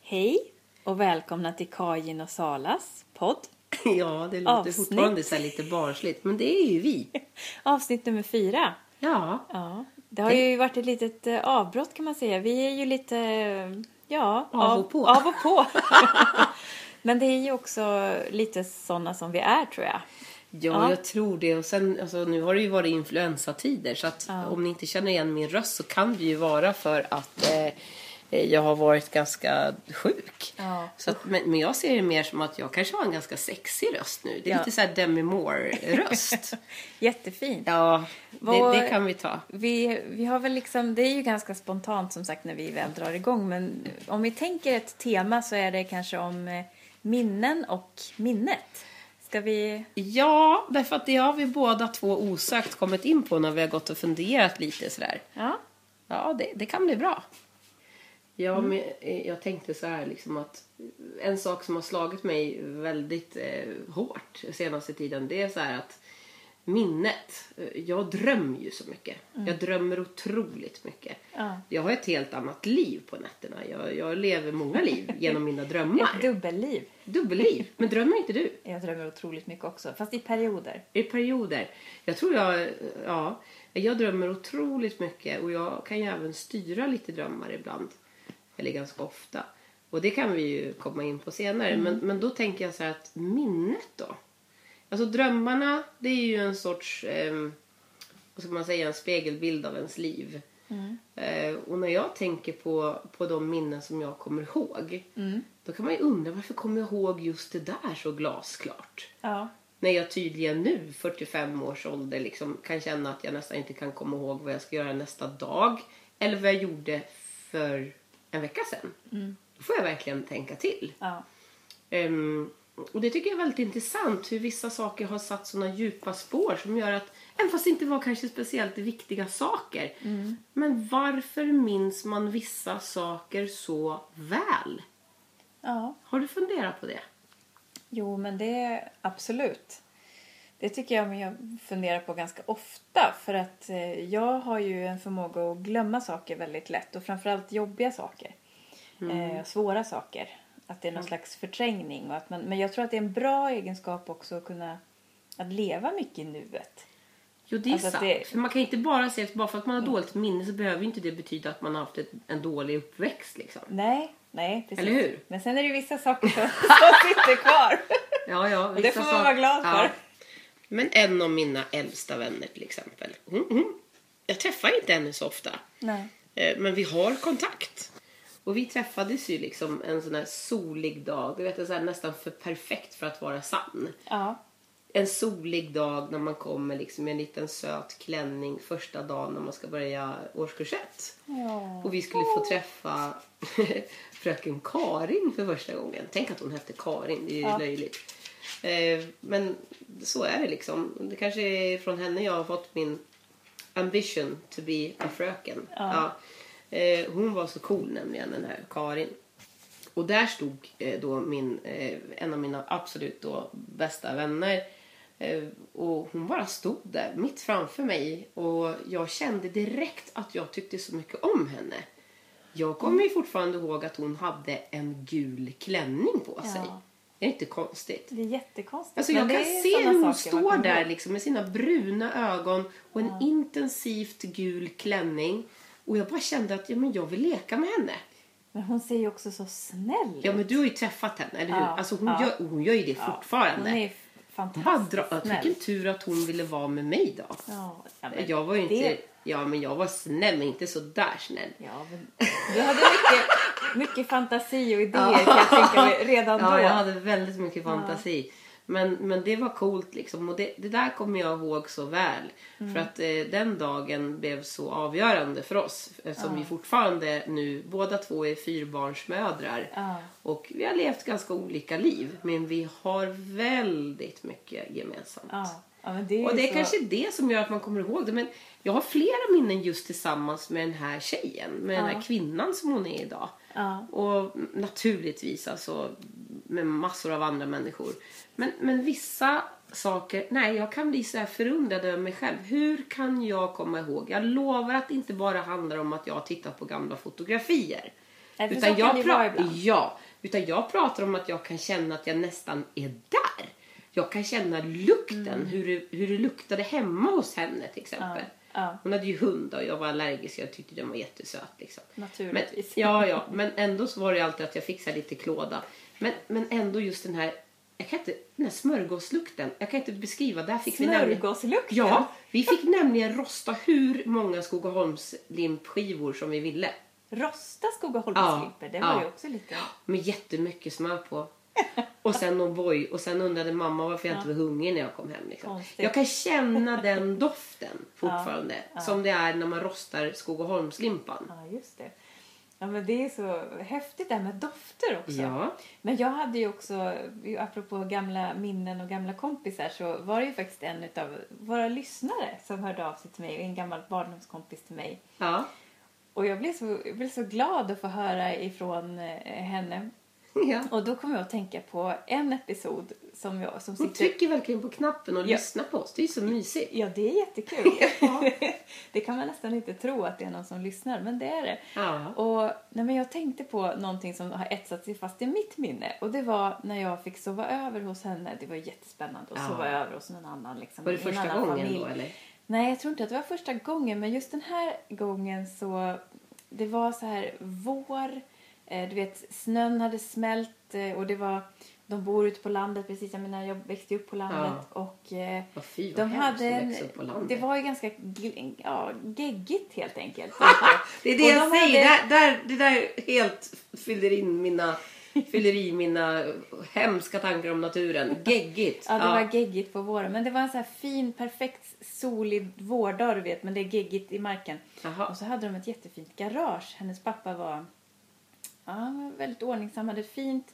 Hej och välkomna till Kajin och Salas podd. Ja, det låter Avsnitt. fortfarande så här lite barnsligt, men det är ju vi. Avsnitt nummer fyra. Ja, Ja, det har ju varit ett litet eh, avbrott kan man säga. Vi är ju lite, eh, ja, Av och på. Av och på. Men det är ju också lite sådana som vi är tror jag. ja jag tror det. Och sen, alltså, nu har det ju varit influensatider, så att om ni inte känner igen min röst så kan det ju vara för att eh, eh, jag har varit ganska sjuk. Ja. Så att, men, men jag ser det mer som att jag kanske har en ganska sexig röst nu. Det är Ja. lite så här Demi Moore-röst. Jättefint. ja, det, Vad- det kan vi ta. Vi, vi har väl liksom, det är ju ganska spontant som sagt när vi väl drar igång men om vi tänker ett tema så är det kanske om eh, minnen och minnet. Ska vi? Ja, därför att det har vi båda två osökt kommit in på när vi har gått och funderat lite sådär. Ja. Ja, det, det kan bli bra. Ja, men eh, jag tänkte så här liksom att en sak som har slagit mig väldigt eh, hårt senaste tiden det är så här att minnet, eh, jag drömmer ju så mycket. Jag drömmer otroligt mycket. Ja. Jag har ett helt annat liv på nätterna. Jag, jag lever många liv genom mina drömmar. Ett dubbelliv. Dubbelliv. Men drömmer inte du? Jag drömmer otroligt mycket också, fast i perioder. I perioder. Jag tror jag, ja, jag drömmer otroligt mycket och jag kan ju även styra lite drömmar ibland. Eller ganska ofta. Och det kan vi ju komma in på senare. Men, men då tänker jag så här att minnet då? Alltså drömmarna, det är ju en sorts, ehm, vad ska man säga, en spegelbild av ens liv. Eh, och när jag tänker på, på de minnen som jag kommer ihåg. Då kan man ju undra varför kommer jag ihåg just det där så glasklart? Ja. När jag tydligen nu, 45 års ålder, liksom, kan känna att jag nästan inte kan komma ihåg vad jag ska göra nästa dag. Eller vad jag gjorde för en vecka sedan. Då får jag verkligen tänka till. ja. Ehm, och det tycker jag är väldigt intressant hur vissa saker har satt sådana djupa spår som gör att, även fast det inte var kanske speciellt viktiga saker, men varför minns man vissa saker så väl? Ja. Har du funderat på det? Jo, men det absolut. Det tycker jag men jag funderar på ganska ofta för att eh, jag har ju en förmåga att glömma saker väldigt lätt och framförallt jobbiga saker. Mm. Eh, svåra saker. Att det är någon slags förträngning. Och att man, men jag tror att det är en bra egenskap också att kunna att leva mycket i nuet. Jo, det är Alltså att sant. det- Mm. För man kan inte bara säga att bara för att man har dåligt minne så behöver ju inte det betyda att man har haft ett, en dålig uppväxt. Liksom. Nej, nej precis. Eller hur? Men sen är det vissa saker som, som sitter kvar. Ja, ja, det vissa får man vara glad för. Men en av mina äldsta vänner till exempel. Hon, hon, jag träffar inte henne så ofta. nej. Eh, Men vi har kontakt. Och vi träffades ju liksom en sån här solig dag. Du vet, en sån här nästan för perfekt för att vara sann. Ja. En solig dag när man kommer liksom i en liten söt klänning första dagen när man ska börja årskurs ett. Ja. Och vi skulle få träffa fröken Karin för första gången. Tänk att hon hette Karin, det är ju Ja. löjligt. Eh, Men så är det liksom. Det kanske är från henne jag har fått min ambition to be a fröken. Ja. Eh, Hon var så cool nämligen, den här Karin. Och där stod eh, då min, eh, en av mina absolut då bästa vänner. Eh, och hon bara stod där mitt framför mig och jag kände direkt att jag tyckte så mycket om henne. Jag kommer ju fortfarande ihåg att hon hade en gul klänning på sig. Ja. Det är inte konstigt. Det är jättekonstigt. Alltså men jag det kan är se såna hur hon saker man kommer står ihåg. där liksom med sina bruna ögon och en intensivt gul klänning. Och jag bara kände att ja, men jag vill leka med henne. Men hon ser ju också så snäll Ja ut. men du har ju träffat henne, eller hur? Ja, alltså hon, ja. gör, och hon gör ju det Hon fortfarande. är ju Bara fantastiskt dra, jag snäll. vilken tur att hon ville vara med mig då. Ja, ja, jag var ju inte... det- Ja men jag var snäll men inte så där snäll. Ja, men du hade mycket, mycket fantasi och idéer kan jag tänka mig redan ja, då. jag hade väldigt mycket fantasi. Men, men det var coolt liksom och det, det där kommer jag ihåg så väl. Mm. För att eh, den dagen blev så avgörande för oss. Eftersom vi fortfarande nu båda två är fyrbarnsmödrar. Ja. Och vi har levt ganska olika liv. Men vi har väldigt mycket gemensamt. Ja, ja, men det är Och ju det är så... kanske det som gör att man kommer ihåg det. Men jag har flera minnen just tillsammans med den här tjejen. Med den Ja. här kvinnan som hon är idag. Ja. Och naturligtvis alltså med massor av andra människor. Men, men vissa saker, nej jag kan bli så här förundrad över mig själv. Hur kan jag komma ihåg? Jag lovar att det inte bara handlar om att jag har tittat på gamla fotografier. Nej, för så kan det ju pra- vara ibland. Ja, Utan jag pratar om att jag kan känna att jag nästan är där. Jag kan känna lukten, Mm. hur, det, hur det luktade hemma hos henne till exempel. ja. Hon hade ju hund och jag var allergisk jag tyckte den var jättesöt. Liksom. Naturligtvis. Men, ja, ja, men ändå så var det ju alltid att jag fick så här lite klåda. Men, men ändå just den här, jag kan inte, den här smörgåslukten, jag kan inte beskriva. Där fick vi nämligen, Smörgåslukten. ja, vi fick nämligen rosta hur många Skogaholms limpskivor som vi ville. Rosta Skogaholmslimper, Ja, det var ja. ju också lite... Med jättemycket smör på. Och sen O'boy. Och sen undrade mamma varför jag inte var hungrig när jag kom hem. Liksom. Konstigt. Jag kan känna den doften fortfarande. Som det är när man rostar Skogaholmslimpan. Ja, just det. Ja, men det är så häftigt det här med dofter också. Ja. Men jag hade ju också, ju apropå gamla minnen och gamla kompisar, så var det ju faktiskt en av våra lyssnare som hörde av sig till mig, en gammal barndomskompis till mig. Ja. Och jag blev så, jag blev så glad att få höra ifrån eh, henne. ja. Och då kom jag att tänka på en episod som jag som Hon sitter... trycker verkligen på knappen och Ja. lyssnar på oss. Det är så mysigt. Ja, det är jättekul. Ja. det kan man nästan inte tro att det är någon som lyssnar, men det är det. Ja. Och, nej, men jag tänkte på någonting som har etsat sig fast i mitt minne. Och det var när jag fick sova över hos henne. Det var jättespännande att Ja. sova över hos någon annan. Liksom, Var det i en första annan gången familj. då eller? Nej, jag tror inte att det var första gången. Men just den här gången så... Det var så här vår. Eh, du vet, snön hade smält eh, och det var... De bor ute på landet precis. Jag menar, jag växte upp på landet. Och... Eh, Vad fy vad de hemskt hade att en, växa upp på landet. det var ju ganska gl- ja, geggigt helt enkelt. Det är det Och jag de säger. hade- Där, där, det där helt fyller, in mina, fyller i mina hemska tankar om naturen. Geggigt. Ja, det var geggigt på våren. Men det var en så här fin, perfekt solig vårdag, du vet. Men det är geggigt i marken. Jaha. Och så hade de ett jättefint garage. Hennes pappa var ja, han var väldigt ordningsam. hade ett fint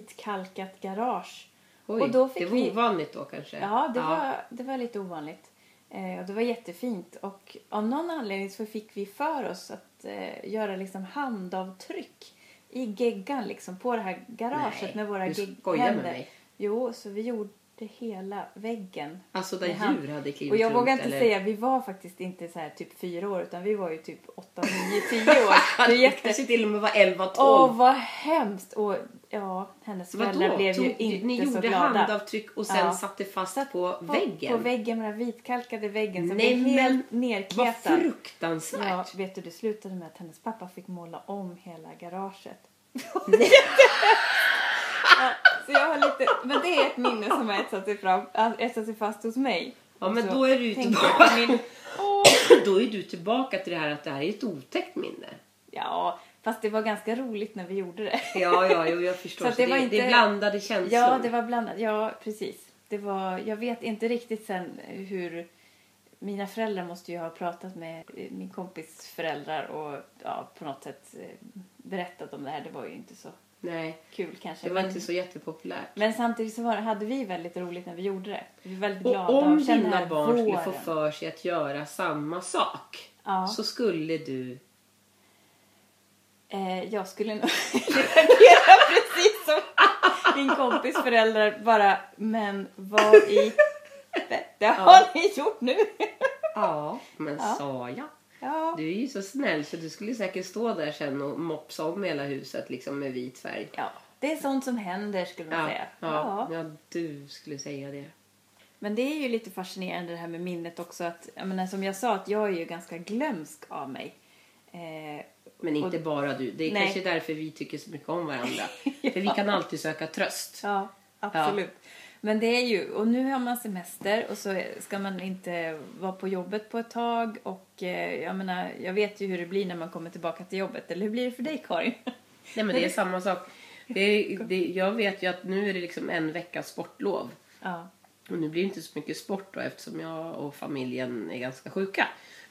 vitkalkat garage. Oj, och då fick det var vi... ovanligt då kanske? Ja, det, Var, det var lite ovanligt. Eh, och det var jättefint. Och av någon anledning så fick vi för oss att eh, göra liksom handavtryck i geggan liksom på det här garaget Nej, med våra du gegghänder. skojar med mig. Jo, så vi gjorde hela väggen. Alltså där med hand. djur hade klivit Och jag runt, vågar inte eller? säga, vi var faktiskt inte så här typ fyra år utan vi var ju typ åtta, nio, tio år. Det är jätte... kanske till och med var 11-12. Åh, vad hemskt! Och ja, hennes föräldrar blev ju Alltså, Tog- inte Ni så gjorde glada handavtryck och sen Ja. satte fast satt på, väggen? På väggen med den här vitkalkade väggen som Nej, blev helt Vad nerkletad. fruktansvärt! Ja, vet du, det slutade med att hennes pappa fick måla om hela garaget. ja, så jag har lite, men det är ett minne som har etsat sig, fram, äh, etsat sig fast hos mig. Ja, men Så då är du ju tänkte tillbaka. jag på min- Åh. Då är du tillbaka till det här att det här är ett otäckt minne. Ja, fast det var ganska roligt när vi gjorde det. Ja, ja, jo, jag förstår. Så Så att det, det det, var är inte- blandade känslor. Ja, det var blandat. Ja, precis. Det var, jag vet inte riktigt sen hur... Mina föräldrar måste ju ha pratat med eh, min kompis föräldrar och ja, på något sätt eh, berättat om det här. Det var ju inte så Nej, kul kanske. det var men, inte så jättepopulärt. men samtidigt så var, det- hade vi väldigt roligt när vi gjorde det. Vi var väldigt glada Och om kände den dina här barn skulle få våren. för sig att göra samma sak Ja. så skulle du... Eh, jag skulle nog reagera precis som din kompis föräldrar bara Men vad i helvete har ni gjort nu? Ja. Men Ja. sa jag? Ja, Du är ju så snäll så du skulle säkert stå där sen och mopsa om hela huset liksom med vit färg. ja, det är sånt som händer skulle man Ja, säga. ja, ja, du skulle säga det. Men det är ju lite fascinerande det här med minnet också att, jag menar, som jag sa, att jag är ju ganska glömsk av mig. Eh, Men inte och, bara du. Det är Nej. kanske därför vi tycker så mycket om varandra. För vi kan alltid söka tröst. Ja, absolut. Men det är ju, och nu har man semester och så ska man inte vara på jobbet på ett tag och eh, jag menar, jag vet ju hur det blir när man kommer tillbaka till jobbet. Eller hur blir det för dig Karin? Nej men det är samma sak. Det är, det, jag vet ju att nu är det liksom en veckas sportlov. Ja, Och nu blir det inte så mycket sport då eftersom jag och familjen är ganska sjuka.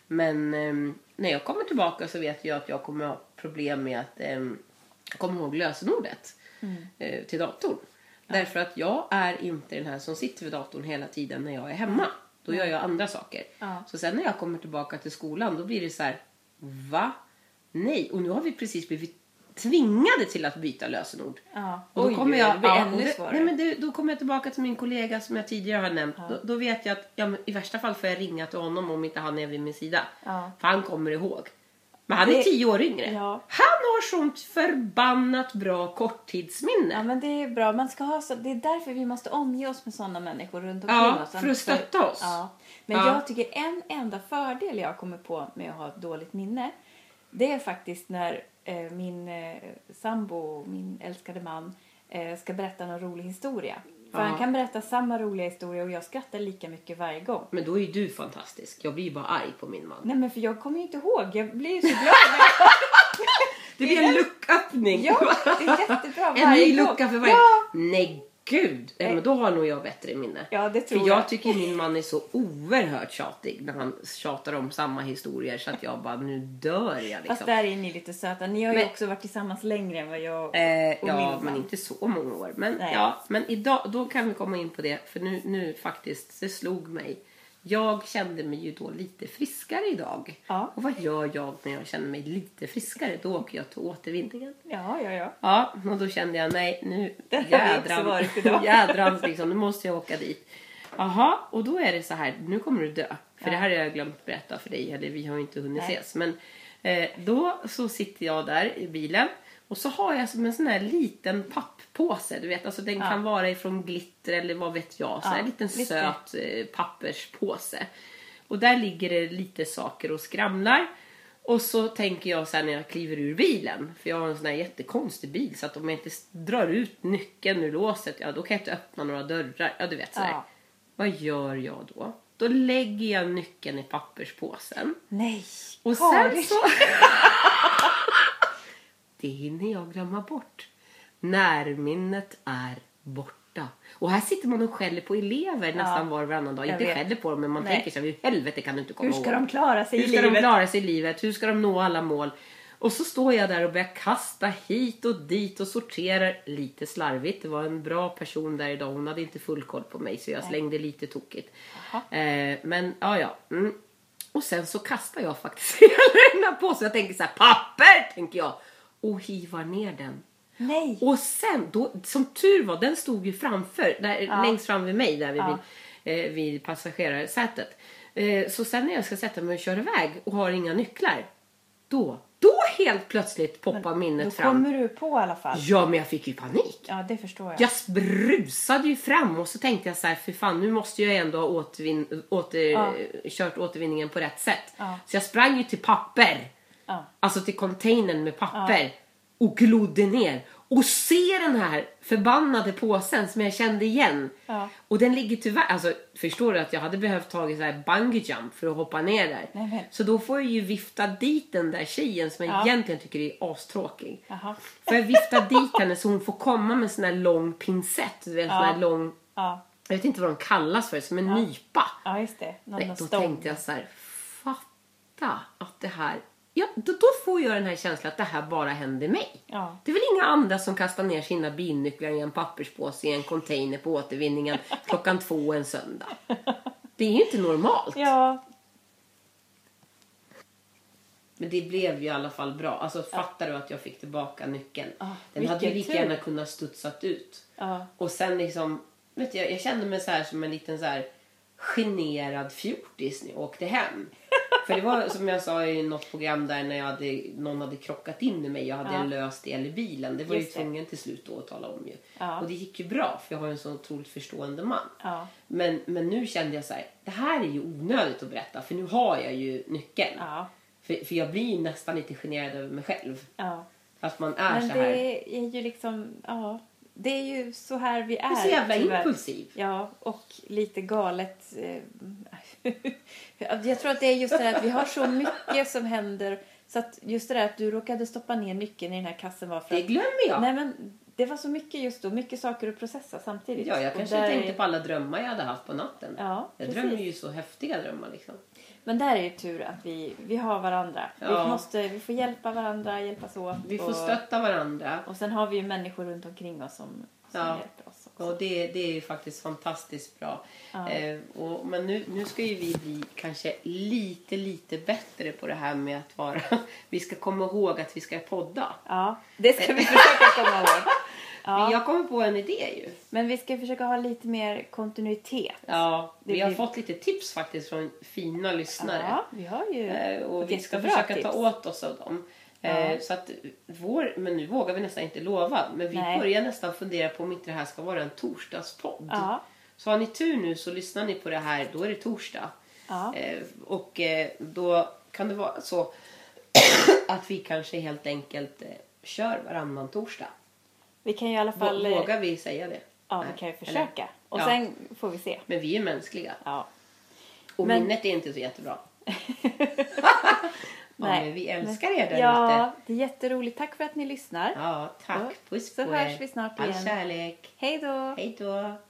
Men ehm, när jag kommer tillbaka så vet jag att jag kommer ha problem med att ehm, komma ihåg lösenordet Mm. eh, till datorn. Därför att jag är inte den här som sitter vid datorn hela tiden när jag är hemma. Då gör jag andra saker. Ja. Så sen när jag kommer tillbaka till skolan då blir det så här, va? Nej, och nu har vi precis blivit tvingade till att byta lösenord. ja. Och då kommer jag, det blir ja, och ännu det- svårare. Nej, men det, då kommer jag tillbaka till min kollega som jag tidigare har nämnt. Då, då vet jag att ja, men i värsta fall får jag ringa till honom om inte han är vid min sida. Ja. För han kommer ihåg. Men han är Det- tio år yngre. Ja. Han har sånt förbannat bra korttidsminne. Ja, men det är bra. Man ska ha så, det är därför vi måste omge oss med sådana människor runt omkring Ja, oss. för att stötta oss. Ja. Men Ja. jag tycker en enda fördel jag kommer på med att ha ett dåligt minne, det är faktiskt när eh, min eh, sambo, min älskade man, eh, ska berätta någon rolig historia. För Ja. han kan berätta samma roliga historia och jag skrattar lika mycket varje gång. Men då är ju du fantastisk. Jag blir bara arg på min man. Nej men för jag kommer ju inte ihåg, jag blir ju så glad. när jag- Det blir en lucköppning. ja, det är jättebra en ny varje gång. lucka för varje... Ja. Nej, gud! Ja, men då har nog jag bättre minne. Ja, det tror för jag. jag. tycker min man är så oerhört tjatig när han tjatar om samma historier så att jag bara, nu dör jag liksom. Fast där är ni lite söta. Ni har ju Men- också varit tillsammans längre än vad jag Eh, och ja, min men man. inte så många år. Men, Nej. ja, men idag, då kan vi komma in på det. För nu, nu faktiskt, det slog mig. Jag kände mig ju då lite friskare idag. Ja. Och vad gör jag när jag känner mig lite friskare? Då åker jag till återvinningen. Ja, ja, ja. Ja, och då kände jag nej, nu Där har vi jädrans, också varit idag. jädrans liksom, nu måste jag åka dit. Jaha, och då är det så här, nu kommer du dö. För det här har jag glömt berätta för dig, eller vi har ju inte hunnit Nej. ses. Men eh, då så sitter jag där i bilen och så har jag som en sån här liten papppåse, du vet, alltså den kan vara ifrån glitter eller vad vet jag, så här Ja, en liten lite. söt eh, papperspåse. Och där ligger det lite saker och skramlar. Och så tänker jag så här när jag kliver ur bilen, för jag har en sån här jättekonstig bil så att om jag inte s- drar ut nyckeln ur låset, ja då kan jag inte öppna några dörrar. Ja du vet så här. Ja. Vad gör jag då? Då lägger jag nyckeln i papperspåsen. Nej, Och sen Karin. så... det hinner jag glömma bort. Närminnet är borta. Och här sitter man och skäller på elever nästan var och varannan dag. jag Inte vet. skäller på dem, men man Nej. tänker sig hur i helvete kan du inte komma Hur ihåg? ska de klara sig Hur i ska de livet? klara sig i livet? Hur ska de nå alla mål? Och så står jag där och börjar kasta hit och dit och sorterar lite slarvigt. Det var en bra person där idag. Hon hade inte full koll på mig så jag slängde lite tokigt. Eh, men ja, ja. Mm. Och sen så kastar jag faktiskt hela den här påsen. Jag tänker så här, papper! Tänker jag. Och hivar ner den. Nej. Och sen, då, som tur var, den stod ju framför, där, längst fram vid mig där vid, Ja. min, eh, vid passagerarsätet. Eh, så sen när jag ska sätta mig och köra iväg och har inga nycklar, då, då helt plötsligt poppar Då minnet fram. kommer du på i alla fall. Ja, men jag fick ju panik. Ja, det förstår jag. Jag rusade ju fram och så tänkte jag så här, för fan nu måste jag ändå ha återvin- åter- Ja. kört återvinningen på rätt sätt. Ja. Så jag sprang ju till papper, Ja. alltså till containern med papper och glodde ner och ser den här förbannade påsen som jag kände igen. Ja. Och den ligger tyvärr, alltså förstår du att jag hade behövt tagit så här bungee jump för att hoppa ner där. Nej, men- Så då får jag ju vifta dit den där tjejen som jag Ja. egentligen tycker är astråkig. Jaha. För jag viftar dit henne så hon får komma med en sån här lång pincett. Du vet, en sån här Ja. lång, Ja. jag vet inte vad de kallas för, som en nypa. ja, just det. Någon Nej, Nej, då stång. tänkte jag så här, fatta att det här... Ja, då, då får jag den här känslan att det här bara händer mig. Ja. Det är väl inga andra som kastar ner sina bilnycklar i en papperspåse i en container på återvinningen klockan två en söndag. Det är ju inte normalt. Ja, Men det blev ju i alla fall bra. Alltså fattar du att jag fick tillbaka nyckeln? Ah, Den hade ju vilken lika tur. gärna kunnat studsat ut. Ja. Och sen liksom, vet du, jag, jag kände mig så här som en liten så här generad fjortis när jag åkte hem. För det var som jag sa i något program där när jag hade, någon hade krockat in i mig. Jag hade Ja. en lös del i bilen. Det var Just ju det. tvungen till slut då att tala om ju. Ja. Och det gick ju bra för jag har ju en så otroligt förstående man. Ja. Men, men nu kände jag så här, det här är ju onödigt att berätta för nu har jag ju nyckeln. ja. För, för jag blir ju nästan lite generad över mig själv. ja. Att man är Men så här. det är ju liksom... Ja. Det är ju så här vi är. Jag är så jävla tyvärr. impulsiv. Ja, och lite galet. eh, Jag tror att det är just det där att vi har så mycket som händer. Så att just det där att du råkade stoppa ner nyckeln i den här kassen var för Det att... glömmer jag. Nej, men det var så mycket just då. Mycket saker att processa samtidigt. ja, jag Och kanske där tänkte är... på alla drömmar jag hade haft på natten. Ja, jag precis. drömmer ju så häftiga drömmar liksom. Men där är ju tur att vi, vi har varandra. Ja. Vi, måste, vi får hjälpa varandra, hjälpas åt. Vi får och, stötta varandra. och sen har vi ju människor runt omkring oss som, som Ja. hjälper oss också. Och det, det är ju faktiskt fantastiskt bra. Ja. Eh, och, men nu, nu ska ju vi bli kanske lite, lite bättre på det här med att vara... vi ska komma ihåg att vi ska podda. Ja, det ska vi försöka komma ihåg. Ja. Ja. Jag kommer på en idé ju. Men vi ska försöka ha lite mer kontinuitet. Ja, Det vi har blir- fått lite tips faktiskt från fina lyssnare. Ja, vi har ju Eh, ett Och vi ska jättebra försöka tips. ta åt oss av dem. Eh, Så att vår, men nu vågar vi nästan inte lova, men vi Nej. börjar nästan fundera på om inte det här ska vara en torsdagspodd. Ja, Så har ni tur nu så lyssnar ni på det här, då är det torsdag. ja. Eh, Och eh, då kan det vara så att vi kanske helt enkelt eh, kör varannan torsdag. Vi kan ju i alla Vå- fall... eh, Vågar vi säga det? Ja, Nej. vi kan ju Eller- försöka. Och Ja. sen får vi se. Men vi är mänskliga. Ja. Och Men- minnet är inte så jättebra. ja, Nej. men vi älskar er där ja, ute. det är jätteroligt. Tack för att ni lyssnar. Ja, tack. Ja. Puss Så på hörs er. vi snart All igen. kärlek. Hej då! Hej då.